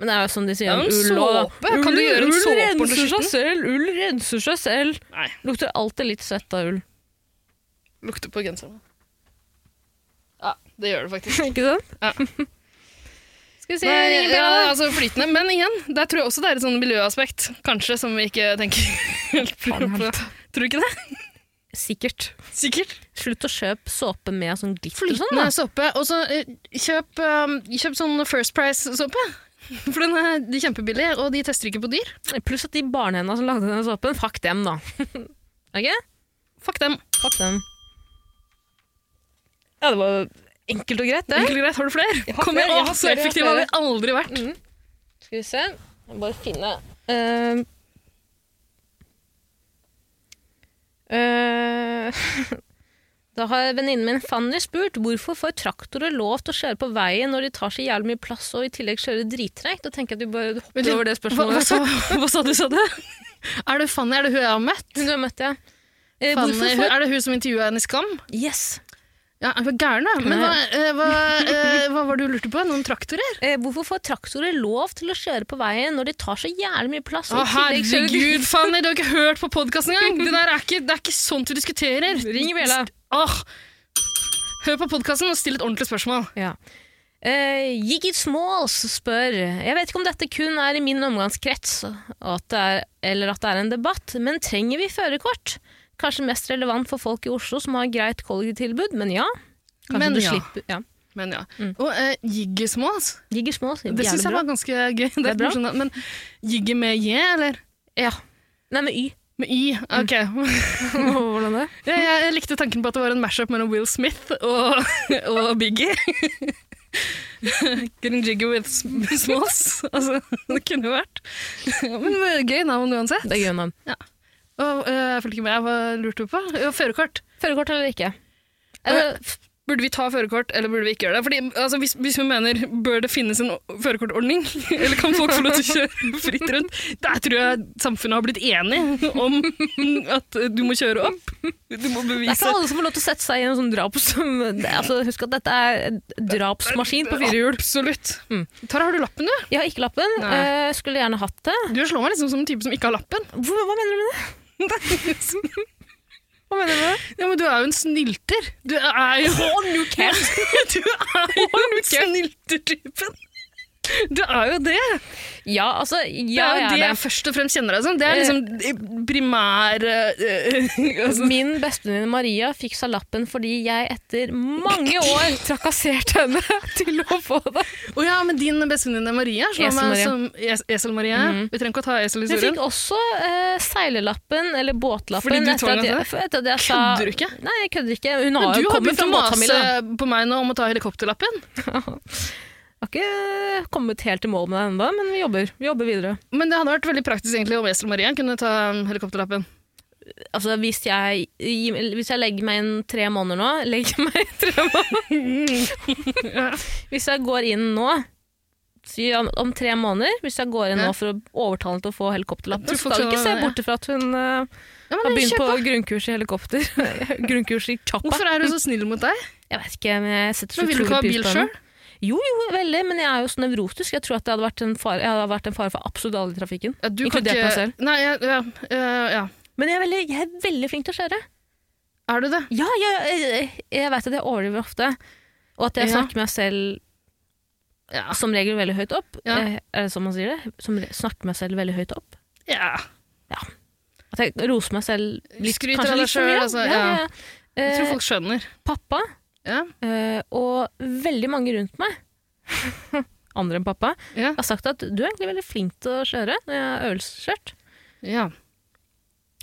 B: Men det er jo som de sier
C: Ja,
B: om
C: men
B: ull og
C: såpe, kan du gjøre en såpe under
B: renser seg
C: skitten?
B: selv! Ull renser seg selv!
C: nei,
B: Lukter alltid litt svett av ull.
C: lukter på genseren. Ja, det gjør det faktisk.
B: Ikke sant?
C: Ja.
B: Skal vi se
C: Nei,
B: ringebjella, da?
C: ja, altså flytende. Men igjen, der tror jeg også det er et sånn miljøaspekt, kanskje, som vi ikke tenker helt på.
B: Faen, helt.
C: Tror du ikke det?
B: Sikkert.
C: Sikkert.
B: Slutt å kjøpe såpe med sånn glitter og sånn,
C: Flytende
B: da.
C: såpe. Og så eh, kjøp, eh, kjøp sånn First Price-såpe. For den er de er kjempebillige, og de tester ikke på dyr.
B: Pluss at de barnehenda som lagde denne såpen, fuck dem, da. ok?
C: Fuck dem.
B: Fuck dem. Ja, det var enkelt og greit, det.
C: Enkelt og greit. Har du flere?
B: har
C: Kom igjen,
B: flere, jeg
C: Åh,
B: har
C: så
B: flere, jeg har
C: effektiv har vi aldri vært.
B: Mm. Skal vi se. Jeg må bare finne Ehm. Eh, Da har venninnen min Fanny spurt hvorfor får traktorer lov til å kjøre på veien når de tar så jævlig mye plass og i tillegg kjører drittreigt. Da tenker jeg at vi bare
C: Men
B: hopper
C: du-
B: over det
C: Hva, hva,
B: spørsmålet.
C: sa, hva sa du, sa du? Er det Fanny? Er det hun jeg har møtt?
B: Hun du har møtt, ja. Eh,
C: Fanny,
B: hvorfor
C: hun-
B: får
C: er det hun som intervjua henne i Skam?
B: Yes.
C: Ja, hun er gæren, da. Men hva, eh, hva, eh, hva var det du lurte på? Noen traktorer?
B: Eh, hvorfor får traktorer lov til å kjøre på veien når de tar så jævlig mye plass?
C: Å,
B: og i tillegg kjører de-
C: herregud, Fanny, du har ikke hørt på podkasten engang! Det, der er ikke, det er ikke sånt vi diskuterer.
B: Ring bjella.
C: Åh. Hør på podkasten og still et ordentlig spørsmål.
B: Ja. Eh, Giggit Smalls spør Jeg vet ikke om dette kun er i min omgangskrets, og at det er, eller at det er en debatt, men trenger vi førerkort? Kanskje mest relevant for folk i Oslo som har greit kollektivtilbud, men ja. Kanskje du
C: Men ja.
B: slipper ja.
C: Men ja. Og eh, jigge små, altså.
B: Giggit Smalls,
C: Det
B: Mm.
C: syns
B: jævlig
C: jeg
B: bra.
C: var ganske gøy. Det er
B: bra.
C: morsomt, da. men jigge med j, eller?
B: Ja. Nei, med Y.
C: Med y?
B: Mm.
C: Ok.
B: Hvordan det?
C: Jeg, jeg, jeg likte tanken på at det var en mashup mellom Will Smith og, og Biggie. Getting jiggy with sm- smalls. Altså, det kunne jo vært. Men det var gøy navn uansett.
B: Det er gøy navn.
C: Og, eh, jeg fulgte ikke med. Hva lurte du på? Jo, Førerkort.
B: Førerkort eller ikke?
C: Eh,
B: Eller,
C: Burde vi ta førerkort, eller burde vi ikke gjøre det? Fordi, altså, hvis, hvis vi mener bør det finnes en o- førerkortordning, eller kan folk få lov til å kjøre fritt rundt, der tror jeg samfunnet har blitt enig om at du må kjøre opp. Du må
B: Det er
C: bevise
B: ikke alle som får lov til å sette seg i en sånn draps... Det, er- altså, husk at dette er en drapsmaskin på fire hjul.
C: Absolutt.
B: Mm.
C: Tara, har du lappen, du?
B: Jeg har ikke lappen.
C: Nei.
B: eh, skulle gjerne hatt det.
C: Du slår meg liksom som en type som ikke har lappen.
B: Hvor, hva mener du med det? Hva mener du med det?
C: ja, men du er jo en snylter. Du er jo
B: you can't!
C: Du er jo snyltertypen. Du er jo det.
B: Ja, altså,
C: Det
B: ja,
C: er jo
B: jeg
C: det
B: er Eh.
C: jeg først og fremst kjenner deg som. Det er liksom primær eh,
B: det.
C: altså,
B: Min bestevenninne Maria fikk seg lappen fordi jeg etter mange år trakasserte henne til å få det.
C: Å ja, men din bestevenninne Maria slår meg
B: Esel-Maria.
C: som es Esel-Maria. Vi trenger ikke å ta
B: Hun
C: Esel-historien.
B: fikk også eh, seilelappen, eller båtlappen,
C: Fordi du
B: etter, at
C: tvang henne
B: jeg,
C: til
B: for- etter at jeg sa
C: Kødder du ikke?
B: Nei, jeg kødder ikke. Hun
C: Men
B: har
C: du
B: jo
C: har
B: kommet
C: begynt
B: fra
C: å mase
B: båtfamilien.
C: på meg nå om å ta helikopterlappen.
B: Har ikke eh, kommet helt i mål med det ennå, men vi jobber, vi jobber videre.
C: Men det hadde vært veldig praktisk egentlig om Esel-Maria kunne ta um, helikopterlappen.
B: Altså, hvis jeg, hvis jeg legger meg inn tre måneder nå Legger meg inn tre måneder Hvis jeg går inn nå Si om, om tre måneder Hvis jeg går inn nå
C: Ja.
B: for å overtale henne til å få helikopterlappen
C: Jeg
B: Så
C: tror folk
B: skal du ikke se
C: skjønner det, ja.
B: bort fra at hun eh,
C: Ja,
B: har
C: men
B: begynt
C: kjør
B: på
C: på.
B: grunnkurs i helikopter Grunnkurs i choppa
C: Hvorfor er hun så snill mot deg?
B: Jeg vet ikke, men jeg setter
C: Men
B: så
C: vil du
B: utrolig
C: ikke ha
B: pris
C: bil
B: på henne.
C: selv?
B: Jo, jo, veldig, men jeg er jo så nevrotisk. Jeg tror at det hadde vært en fare, jeg hadde vært en fare for absolutt alle i trafikken.
C: Ja, du kan
B: Inkludert
C: ikke-
B: meg selv.
C: Nei, ja, ja, eh, ja.
B: Men jeg er veldig, jeg er veldig flink til å kjøre.
C: Er du det?
B: Ja, jeg, jeg, jeg veit at jeg overdriver ofte, og at jeg
C: Ja. Ah.
B: snakker meg selv ja, som regel veldig høyt opp.
C: Ja.
B: Eh, Er det sånn man sier det? Som re- snakker meg selv veldig høyt opp.
C: Ja.
B: At jeg roser meg selv litt,
C: Skryter
B: kanskje
C: av deg
B: litt for mye,
C: selv, altså,
B: Ja,
C: ja.
B: ja.
C: Jeg tror
B: Eh,
C: folk skjønner.
B: pappa
C: Ja.
B: eh, og veldig mange rundt meg, andre enn pappa,
C: Ja.
B: har sagt at du er egentlig veldig flink til å kjøre når jeg har øvelseskjørt.
C: ja.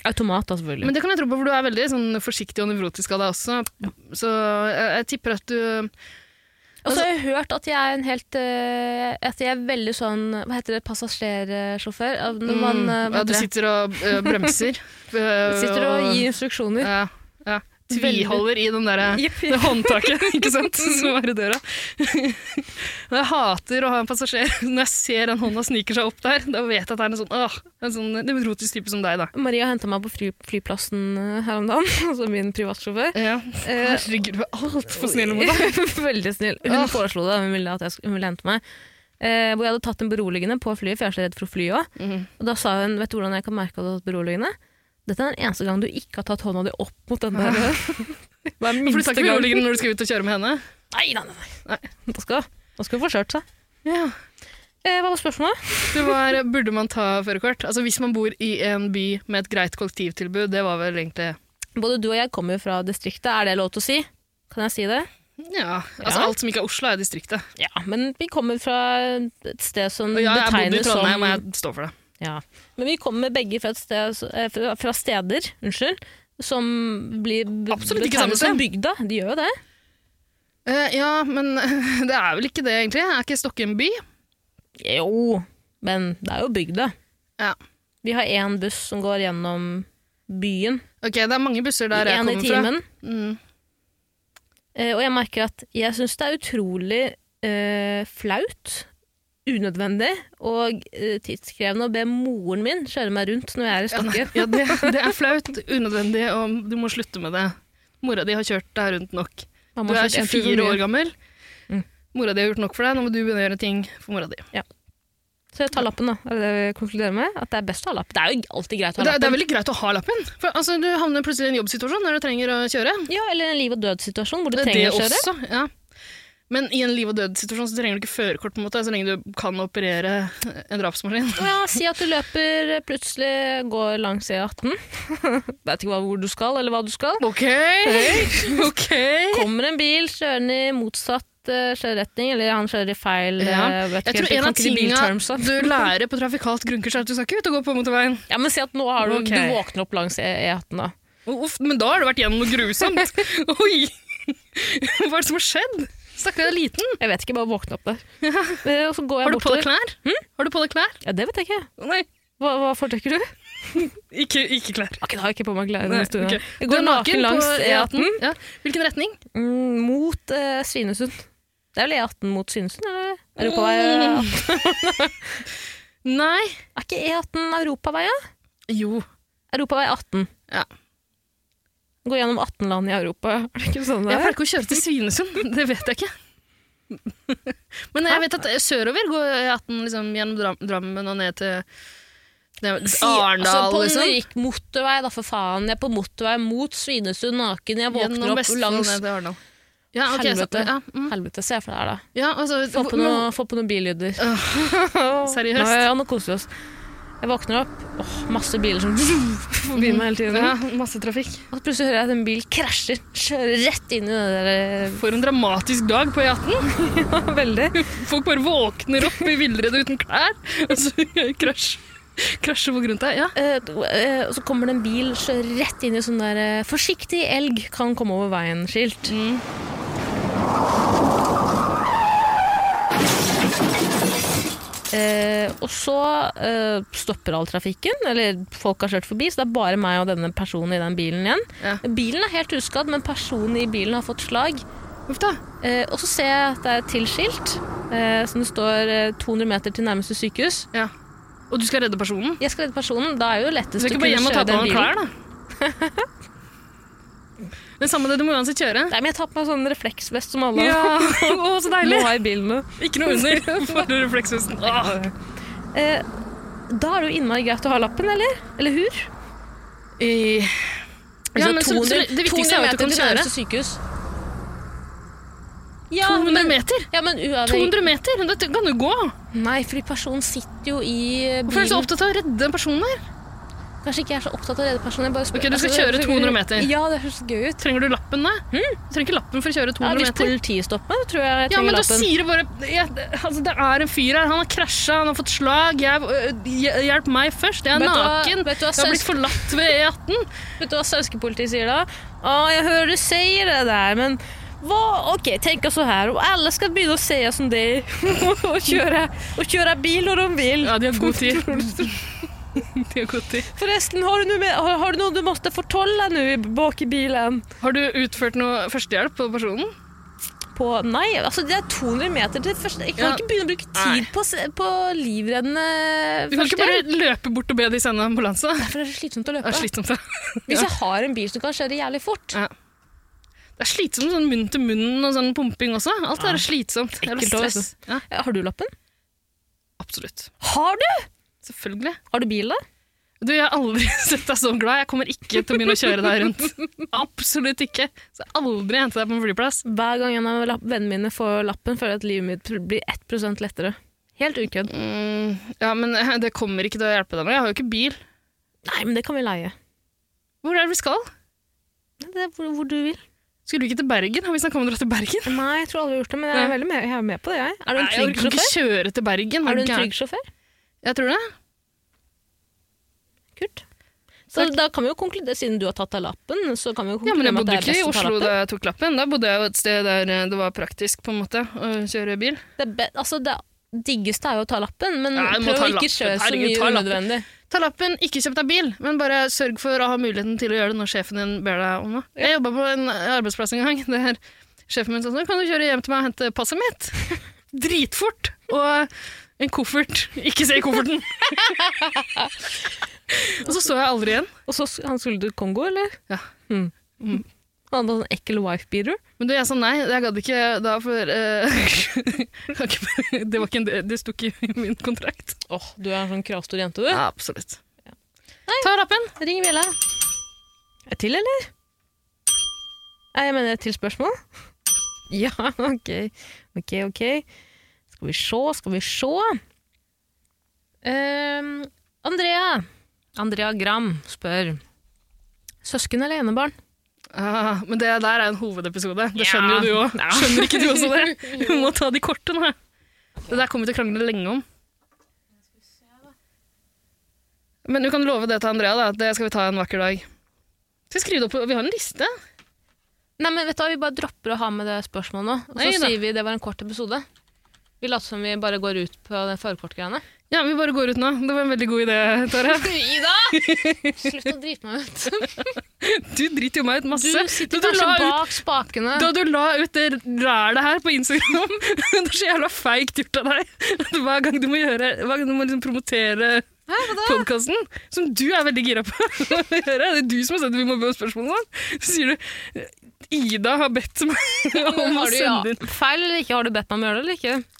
B: Automat, da, selvfølgelig.
C: Men det kan jeg tro på, for du er veldig sånn, forsiktig og nevrotisk av deg også. Så eh, jeg, jeg tipper at du altså-
B: Og så har jeg hørt at jeg er en helt eh, At jeg er veldig sånn Hva heter det? Passasjersjåfør? Ja, Når man eh, hva
C: Mm, ja, Du
B: heter det?
C: sitter og eh, bremser. eh,
B: sitter og gir instruksjoner.
C: ja, ja. Tviholder i den derre Det er håndtaket, ikke sant, som er i døra. Men jeg hater å ha en passasjer. Når jeg ser den hånda sniker seg opp der, da vet jeg at det er en sånn, åh, en sånn nevrotisk type som deg, da.
B: Maria henta meg på fly, flyplassen eh, her om dagen, altså min privatsjåfør.
C: Ja.
B: Eh,
C: Herregud, du er altfor snill mot deg.
B: Veldig snill. Hun
C: Åh.
B: foreslo det, hun ville, at jeg, sk- hun ville hente meg. Eh, hvor jeg hadde tatt en beroligende på flyet, for jeg er så redd for å fly òg.
C: Mhm.
B: Og da sa hun Vet du hvordan jeg kan merke at du har tatt beroligende? Dette er den eneste gangen du ikke har tatt hånda di opp mot den der. eh." Hver
C: For du tar
B: minste
C: ikke
B: gang.
C: beroligende når du skal ut og kjøre med henne?
B: Nei, nei, nei. nei. Da skal da skal hun få kjørt seg.
C: Ja.
B: Eh, hva var spørsmålet?
C: Det var, burde man ta førerkort? Altså, hvis man bor i en by med et greit kollektivtilbud, det var vel egentlig
B: Både du og jeg kommer jo fra distriktet, er det lov til å si? Kan jeg si det?
C: Ja. Altså,
B: Ja.
C: alt som ikke er Oslo, er distriktet.
B: Ja, men vi kommer fra et sted som
C: Og ja, jeg bodde i
B: betegnes som
C: Trondheim, og jeg står for det.
B: Ja. Men vi kommer begge fra, et sted, eh, fra- fra steder unnskyld, som blir be-
C: Absolutt ikke samme
B: betegnet som bygda. De gjør jo det.
C: Eh, ja, men det er vel ikke det, egentlig. Er ikke Stokke en by?
B: Jo, men det er jo bygda.
C: Ja.
B: Vi har én buss som går gjennom byen.
C: Ok, det er mange busser der jeg
B: Én i
C: kommer fra.
B: timen.
C: Mm.
B: Eh, og jeg merker at jeg syns det er utrolig eh, flaut, unødvendig og eh, tidskrevende å be moren min kjøre meg rundt når jeg er i Stokke.
C: Ja, det, det er flaut, unødvendig, og du må slutte med det. Mora di har kjørt deg rundt nok. Du
B: Mamma
C: er
B: kjørte en tur for
C: 24
B: mye.
C: år gammel.
B: Mm.
C: Mora di har gjort nok for deg, nå må du begynne å gjøre ting for mora di.
B: Så jeg tar lappen, da. Er det det vi konkluderer med? At det er best å ha lapp. Det er jo alltid greit å ha
C: Det, er-
B: lappen.
C: det er veldig greit å ha lappen. For, altså, du havner plutselig i en jobbsituasjon når du trenger å kjøre.
B: Ja, eller en liv og død-situasjon hvor du
C: Det er
B: trenger
C: det
B: å kjøre.
C: også. Ja. Men i en liv og død-situasjon så trenger du ikke førerkort, på en måte, så lenge du kan operere en drapsmaskin.
B: Ja, si at du løper eh, plutselig går langs E18. Vet ikke hva, hvor du skal, eller hva du skal.
C: Ok! ok!
B: Kommer en bil kjørende i motsatt eh, kjøreretning, eller han kjører i feil
C: Ja.
B: eh, vet ikke
C: Jeg tror
B: helt,
C: en
B: kan
C: av
B: ikke de biltermsa.
C: tinga du lærer på trafikalt grunnkurs, er at du skal ikke ut og gå på motorveien.
B: Ja, men si at nå har du,
C: Ok.
B: du våkner opp langs E- E18 da.
C: Uff, men da har du vært gjennom noe grusomt. Oi! Hva er det som har skjedd? Stakkar, jeg er liten.
B: Jeg vet ikke, bare våkne opp der. Eh, Og så går jeg
C: Har du på
B: bortover.
C: deg klær?
B: Hm?
C: Har du på deg klær?
B: Ja, det vet jeg ikke.
C: Nei,
B: Hva, hva foretrekker du?
C: ikke, ikke klær.
B: Ok, da har jeg ikke på meg klær i
C: Nei,
B: denne historien.
C: ok.
B: Jeg går naken langs E18
C: Ja. Hvilken retning?
B: mm, mot eh, Svinesund. Det er vel E18 mot Svinesund, eller? Er du på vei?
C: Mm. Nei.
B: Er ikke E18 Europaveien?
C: Jo.
B: Europavei 18.
C: Ja.
B: Gå gjennom 18 land i Europa. Er det ikke sånn det
C: Jeg pleier
B: er?
C: ikke å kjøre til Svinesund, det vet jeg ikke. Men jeg vet at sørover går E18 liksom, gjennom Dram- Drammen og ned til ned-
B: Si- altså,
C: Arendal,
B: på
C: liksom.
B: Norge- motorvei, da, for faen. Jeg er på motorvei mot Svinesund naken. Jeg våkner
C: Gjennom
B: opp
C: Vestfold
B: langs
C: ned til Arendal. Ja, ok, så,
B: Helvete.
C: ja, mm,
B: Helvete, se for deg her, da.
C: ja, altså,
B: Få på,
C: men-
B: noe, få på noen billyder.
C: seriøst?
B: Nei, ja, nå koser vi oss. Jeg våkner opp, åh, masse biler som forbi meg hele tiden.
C: Ja, masse trafikk.
B: Og så plutselig hører jeg at en bil krasjer. Kjører rett inn i det der eh,
C: For en dramatisk dag på E18.
B: Veldig.
C: Folk bare våkner opp i villrede uten klær, og så krasjer krasjer folk rundt deg. Ja.
B: Eh, to- eh, og så kommer det en bil kjører rett inn i sånn der eh, 'forsiktig elg kan komme over veien'-skilt. Eh, og så eh, stopper all trafikken, eller folk har kjørt forbi, så det er bare meg og denne personen i den bilen igjen.
C: Ja.
B: Bilen er helt uskadd, men personen i bilen har fått slag.
C: Uff da.
B: Eh, og så ser jeg at det er et tilskilt, eh, som det står eh, 200 meter til nærmeste sykehus.
C: Ja. Og du skal redde personen?
B: Jeg skal redde personen, da er jo
C: Du
B: lettest
C: skal ikke bare hjem og ta på deg noen klær, da? Men samme det, du må uansett kjøre.
B: Nei, men jeg tar på meg sånn refleksvest som alle
C: Ja, å, så deilig!
B: må ha i bilen nå.
C: Ikke noe under for refleksvesten. Åh.
B: Eh, da er det jo innmari greit å ha lappen, eller? Eller hur?
C: I-
B: Altså,
C: Ja, men så, så, Altså, det viktigste er jo at du kan kjøre.
B: sykehus. Ja,
C: 200
B: men,
C: meter!
B: ja, men uavhengig
C: 200 meter! Dette kan du gå!
B: Nei, fordi personen sitter jo i
C: Hvorfor er du så
B: bilen.
C: opptatt av å redde en person der?
B: Kanskje ikke jeg er så opptatt av å redde personen. Jeg bare spør.
C: Ok, du skal
B: det-
C: kjøre 200 meter.
B: Ja, det høres gøy ut.
C: Trenger du lappen da? Du trenger ikke lappen for å kjøre
B: Mm. Ja,
C: 200
B: hvis
C: meter.
B: politiet stopper meg, så tror jeg jeg
C: Ja,
B: trenger
C: men da
B: lappen.
C: sier du bare ja, altså, Det er en fyr her. Han har krasja, han har fått slag. Jeg, øh, hj- hjelp meg først. Jeg er
B: Vet du hva-
C: naken.
B: vet du hva
C: jeg har
B: søs-
C: blitt forlatt ved E18.
B: Vet du hva sausepolitiet sier da? Å, jeg hører du sier det der, men hva? Ok, tenk oss så her. Om alle skal begynne å si som det og kjøre, og kjøre bil når de vil.
C: Ja, de har god tid. De har god tid.
B: Forresten, har du noe, med, har, har du, noe du måtte fortolle nå i- bak i bilen?
C: Har du utført noe førstehjelp på personen?
B: På, nei, altså det er 200 meter til første. Jeg kan
C: Ja.
B: ikke begynne å bruke
C: Nei.
B: tid på, se- på livreddende
C: Du kan ikke bare løpe bort og be de sende ambulanse.
B: For det er så slitsomt å
C: Det
B: løpe.
C: er slitsomt. da.
B: Hvis jeg har en bil som kan kjøre jævlig fort.
C: Ja. Det er slitsomt sånn munn til munnen og sånn pumping også. Alt det der er slitsomt. Eller
B: Ekkelt også.
C: stress. Ja,
B: Eh, Har du lappen?
C: absolutt.
B: Har du?
C: Selvfølgelig.
B: Har du bil, da?
C: Du, Jeg har aldri sett deg så glad. Jeg kommer ikke til å begynne å kjøre deg rundt. Absolutt ikke. Så jeg har aldri hente deg på en flyplass.
B: Hver gang en av lapp- vennene mine får lappen, føler jeg at livet mitt blir 1 lettere. Helt ukødd.
C: Mm, ja, men eh, det kommer ikke til å hjelpe deg med. Jeg har jo ikke bil.
B: Nei, men det kan vi leie.
C: Hvor er det vi skal?
B: Det er hvor, hvor du vil.
C: Skulle du ikke til Bergen? Har vi snakket om å dra til Bergen?
B: Nei, jeg tror aldri jeg har gjort det, men jeg er,
C: Nei.
B: veldig med, jeg er med på det, jeg. Er du en
C: Nei, jeg
B: trygg
C: kan ikke
B: sjåfør?
C: kjøre til Bergen.
B: Er du en
C: gæren?
B: trygg sjåfør?
C: Jeg tror det.
B: Kult. Så da kan vi jo konkludere, siden du har tatt av lappen, så kan vi jo
C: Ja, men
B: konkludere med
C: jeg
B: at
C: bodde
B: det er
C: ikke
B: best
C: i
B: å ta
C: Oslo
B: lappen.
C: da jeg tok lappen. Da bodde jeg jo et sted der eh, det var praktisk på en måte å kjøre bil.
B: Det, er be- altså, det diggeste er jo å ta lappen, men
C: Nei, du må
B: prøv
C: ta
B: å ikke
C: lappen.
B: kjøre så
C: Herregud,
B: mye
C: ta lappen.
B: unødvendig.
C: Ta lappen, ikke kjøp deg bil, men bare sørg for å ha muligheten til å gjøre det når sjefen din ber deg om det. Jeg jobba på en arbeidsplass en gang. Det her, sjefen min sa sånn Kan du kjøre hjem til meg og hente passet mitt? Dritfort! Og en koffert. Ikke se i kofferten! og så så jeg aldri igjen.
B: Og så s- han skulle til Kongo, eller?
C: Ja.
B: Mm.
C: Mm.
B: Han hadde sånn ekkel wife-beater.
C: Men du, jeg sa nei, jeg gadd ikke da, for eh, Det var ikke en del, det sto ikke i min kontrakt.
B: Åh, du er en sånn kravstor jente, du.
C: absolutt. Ta lappen.
B: Ring Bjella. Er det til, eller? Nei, jeg mener til spørsmål. Ja, ok. Ok, ok. Skal vi se, skal vi se. Ehm, Andrea. Andrea Gram spør. Søsken eller enebarn?
C: Ah, men det der er en hovedepisode. Det
B: Ja.
C: skjønner jo du òg. Skjønner ikke du også det? Du må ta de korte nå. Det der kommer vi til å krangle lenge om. Men du kan love det til Andrea, da. at Det skal vi ta en vakker dag. Skal jeg skrive det opp? Vi har en liste.
B: Nei, men vet du hva, vi bare dropper å ha med det spørsmålet nå. Og så
C: Nei da.
B: sier vi det var en kort episode. Vi later som vi bare går ut på den førerkortgreiene.
C: Ja, vi bare går ut nå. Det var en veldig god idé, Tara.
B: Ida! Slutt å drite meg ut.
C: Du driter jo meg ut
B: Du
C: masse.
B: sitter
C: da, du
B: kanskje
C: la ut,
B: bak spakene.
C: da du la ut det rælet her på Instagram, det er så jævla feigt gjort av deg. At Hver gang du må, gjøre, hver gang du må liksom promotere
B: Hæ, hva da?
C: podkasten, som du er veldig gira på å gjøre. Det er du som har sendt Vi må be om spørsmål nå. Så sier du Ida har bedt meg om å
B: Har du,
C: sende inn
B: ja, feil eller ikke? Har du bedt meg om å gjøre det eller ikke?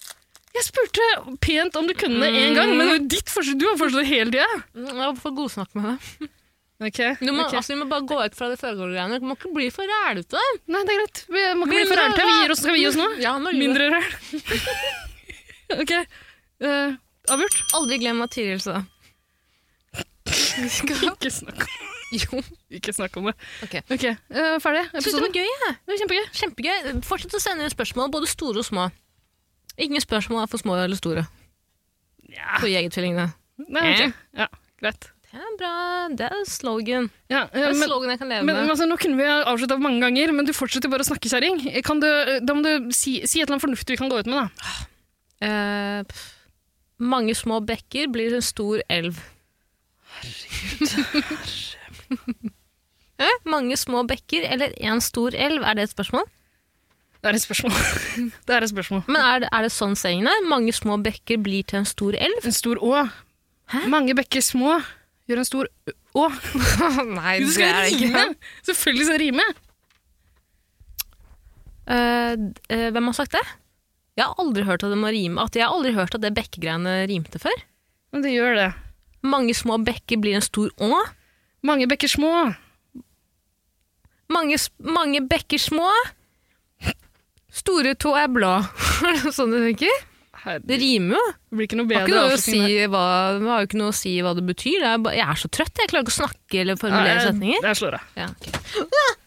C: Jeg spurte pent om du kunne det én gang, men det var jo ditt forslag. Du har forslag hele tida.
B: Jeg får godsnakk med deg.
C: Okay,
B: Du må,
C: ok.
B: altså, vi må bare gå ut fra de foregående greiene. Du må ikke bli for rælete.
C: Nei, det er greit. Vi må ikke bli for
B: Mindre
C: ærlige. Vi
B: ræl.
C: gir oss, skal vi gi oss nå?
B: Ja, nå gjør
C: Mindre ræl. OK. eh, avgjort?
B: det. Aldri glem at Tiril sa
C: Ikke snakk, om-
B: Jo.
C: ikke snakk om det.
B: Ok.
C: OK. eh, ferdig.
B: Jeg syns det
C: Episoden.
B: var gøy, jeg.
C: Det var kjempegøy.
B: Kjempegøy. Fortsett å sende inn spørsmål, både store og små. Ingen spørsmål er for små eller store.
C: Ja. Ah.
B: For Jegertvillingene.
C: Nei,
B: Eh?
C: ok. ja greit.
B: Det er bra. Det er slogan.
C: Ja, eh,
B: Det er
C: men-
B: slogan jeg kan leve
C: Men, men
B: med.
C: altså, nå kunne vi ha avslutta mange ganger, men du fortsetter bare å snakke, kjerring. Kan du- eh, Da må du si, si et eller annet fornuftig vi kan gå ut med, da.
B: Eh, pff. mange små bekker blir en stor elv. Herregud. Eh, mange små bekker eller en stor elv, er det et spørsmål?
C: Det er et spørsmål. det er et spørsmål.
B: Men er det, er det sånn sayingen er? Mange små bekker blir til en stor elv?
C: En stor å.
B: Hæ?
C: Mange bekker små gjør en stor ø- å.
B: Nei,
C: Du skal rime! Selvfølgelig skal det rime!
B: Eh, d- eh, hvem har sagt det? Jeg har aldri hørt at det må rime. At jeg har aldri hørt at det bekkegreiene rimte før.
C: Men det gjør det.
B: Mange små bekker blir en stor å.
C: Mange bekker små.
B: Mange, s- mange bekker små. Store tå er blå. Er det sånn du tenker?
C: Herregud,
B: Det rimer jo.
C: det blir ikke noe
B: Det
C: bedre.
B: har, ikke noe å si
C: avslutning her.
B: hva, det har jo ikke noe å si hva det betyr. Det er bare, jeg er så trøtt. Jeg klarer ikke å snakke eller
C: Ja,
B: formulere
C: jeg-
B: setninger.
C: Jeg slår av.
B: Ja, ok.